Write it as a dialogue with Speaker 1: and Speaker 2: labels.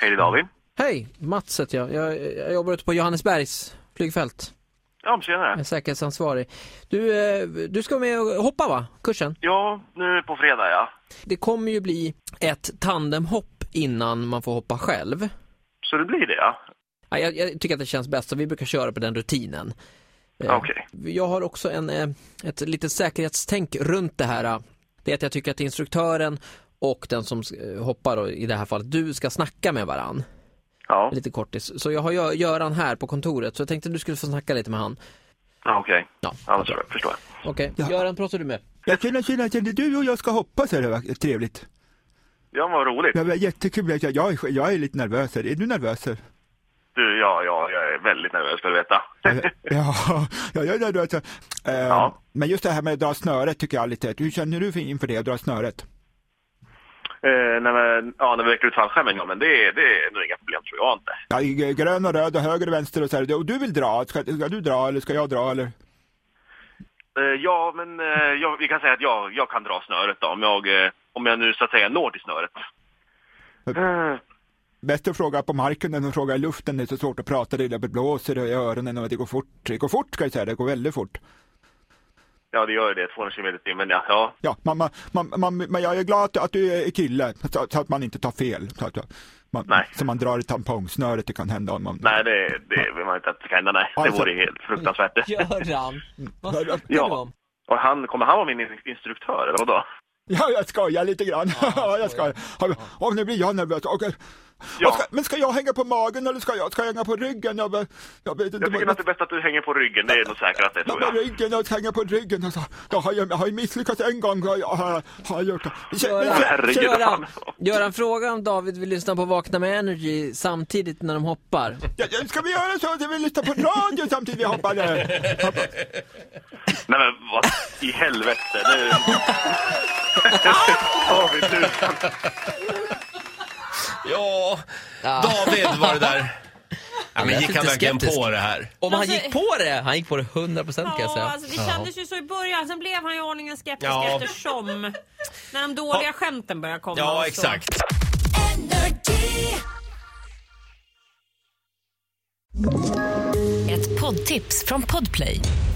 Speaker 1: Hej det är David.
Speaker 2: Hej, Mats heter jag. jag. Jag jobbar ute på Johannesbergs flygfält.
Speaker 1: Ja, tjenare.
Speaker 2: Jag är säkerhetsansvarig. Du, eh, du ska vara med och hoppa va? Kursen?
Speaker 1: Ja, nu på fredag ja.
Speaker 2: Det kommer ju bli ett tandemhopp innan man får hoppa själv.
Speaker 1: Så det blir det ja.
Speaker 2: Ja, Jag, jag tycker att det känns bäst, så vi brukar köra på den rutinen. Eh,
Speaker 1: Okej.
Speaker 2: Jag har också en, eh, ett litet säkerhetstänk runt det här. eh. Det är att jag tycker att instruktören och den som eh, hoppar, och i det här fallet du, ska snacka med varann.
Speaker 1: Ja,
Speaker 2: Lite kortis. Så jag har Gö- Göran här på kontoret, så jag tänkte att du skulle få snacka lite med han.
Speaker 1: ja okej.
Speaker 2: Ja,
Speaker 1: Ja, det tror jag. Förstår jag.
Speaker 2: Okej,
Speaker 3: Ja.
Speaker 2: Göran pratar du med?
Speaker 3: Jag känner, känner, känner du och jag ska hoppa så det var trevligt.
Speaker 1: Ja, vad roligt.
Speaker 3: Det var jättekul, jag, jag, är- jag är lite nervös här. Är du nervös här?
Speaker 1: Du, ja, ja, jag är väldigt nervös ska du veta.
Speaker 3: Ja, ja, jag är nervös. här. Eh,
Speaker 1: Ja.
Speaker 3: Men just det här med att dra snöret tycker jag är lite, hur känner du inför det, att dra snöret?
Speaker 1: Eh, när, vi, ja, när vi räcker ut fallskärmen, ja men det, det är nog inga problem tror jag inte.
Speaker 3: Ja, i- i grön och röd och höger och vänster och så här. Och du vill dra, ska, ska du dra eller ska jag dra eller?
Speaker 1: Eh, ja, men eh, jag, vi kan säga att jag, jag kan dra snöret då, om jag, eh, om jag nu så att säga når till snöret. Eh,
Speaker 3: Bäst att fråga på marken än att fråga i luften, det är så svårt att prata, det blåser i öronen och det går fort. Det går fort ska jag säga, det går väldigt fort.
Speaker 1: ja, det gör ju det, 200 km i timmen ja. ja.
Speaker 3: Ja, man, man, man, man, men jag är glad att- att du är kille, så, så att man inte tar fel. Så, att, man,
Speaker 1: Nej.
Speaker 3: så man drar i tampongsnöret, det kan hända om man...
Speaker 1: Nej, det, det vill man inte att det ska hända, nej. Det
Speaker 3: Alltså-
Speaker 1: vore helt fruktansvärt.
Speaker 2: Göran, vad snackar
Speaker 1: Ja.
Speaker 2: du om?
Speaker 1: Och han, kommer han vara min in- instruktör eller vadå?
Speaker 3: Ja, jag skojar lite grann.
Speaker 2: Ja,
Speaker 3: Ja, jag
Speaker 2: skojar.
Speaker 3: skojar. Ja. nu blir jag nervös. Och,
Speaker 1: Ja.
Speaker 3: och ska, men ska jag hänga på magen eller ska jag, ska jag hänga på ryggen? Jag, vet- jag vet inte.
Speaker 1: Jag tycker
Speaker 3: vad-
Speaker 1: att det är bäst att du hänger på ryggen, det är nog säkert att det
Speaker 3: Ja,
Speaker 1: tror
Speaker 3: på
Speaker 1: jag.
Speaker 3: ryggen, jag ska hänga på ryggen. Alltså, jag, har, ju- jag har ju misslyckats en gång. Har jag, har, har jag gjort det. Kä-
Speaker 2: Göran,
Speaker 3: men kä-
Speaker 1: herregud, vad
Speaker 2: Göran,
Speaker 1: fan.
Speaker 2: Göran fråga om David vill lyssna på Vakna med Energy samtidigt när de hoppar.
Speaker 3: ja, ja, ska vi göra så att vi lyssnar på radio samtidigt vi hoppar? där? Hoppar.
Speaker 1: Nej men vad i helvete, nu... David, du...
Speaker 4: Ja, David var det där. Ja, men
Speaker 5: lät
Speaker 4: gick han
Speaker 5: lite
Speaker 4: verkligen
Speaker 5: skeptisk.
Speaker 4: på det här?
Speaker 5: Om han
Speaker 6: Alltså-
Speaker 5: gick på det, han gick på det 100% kan jag säga.
Speaker 6: Ja, alltså det kändes ju så i början. Sen blev han ju aningen skeptisk
Speaker 4: Ja.
Speaker 6: eftersom när de dåliga skämten började komma. och
Speaker 4: Ja,
Speaker 6: så.
Speaker 4: exakt.
Speaker 7: Ett poddtips från Podplay.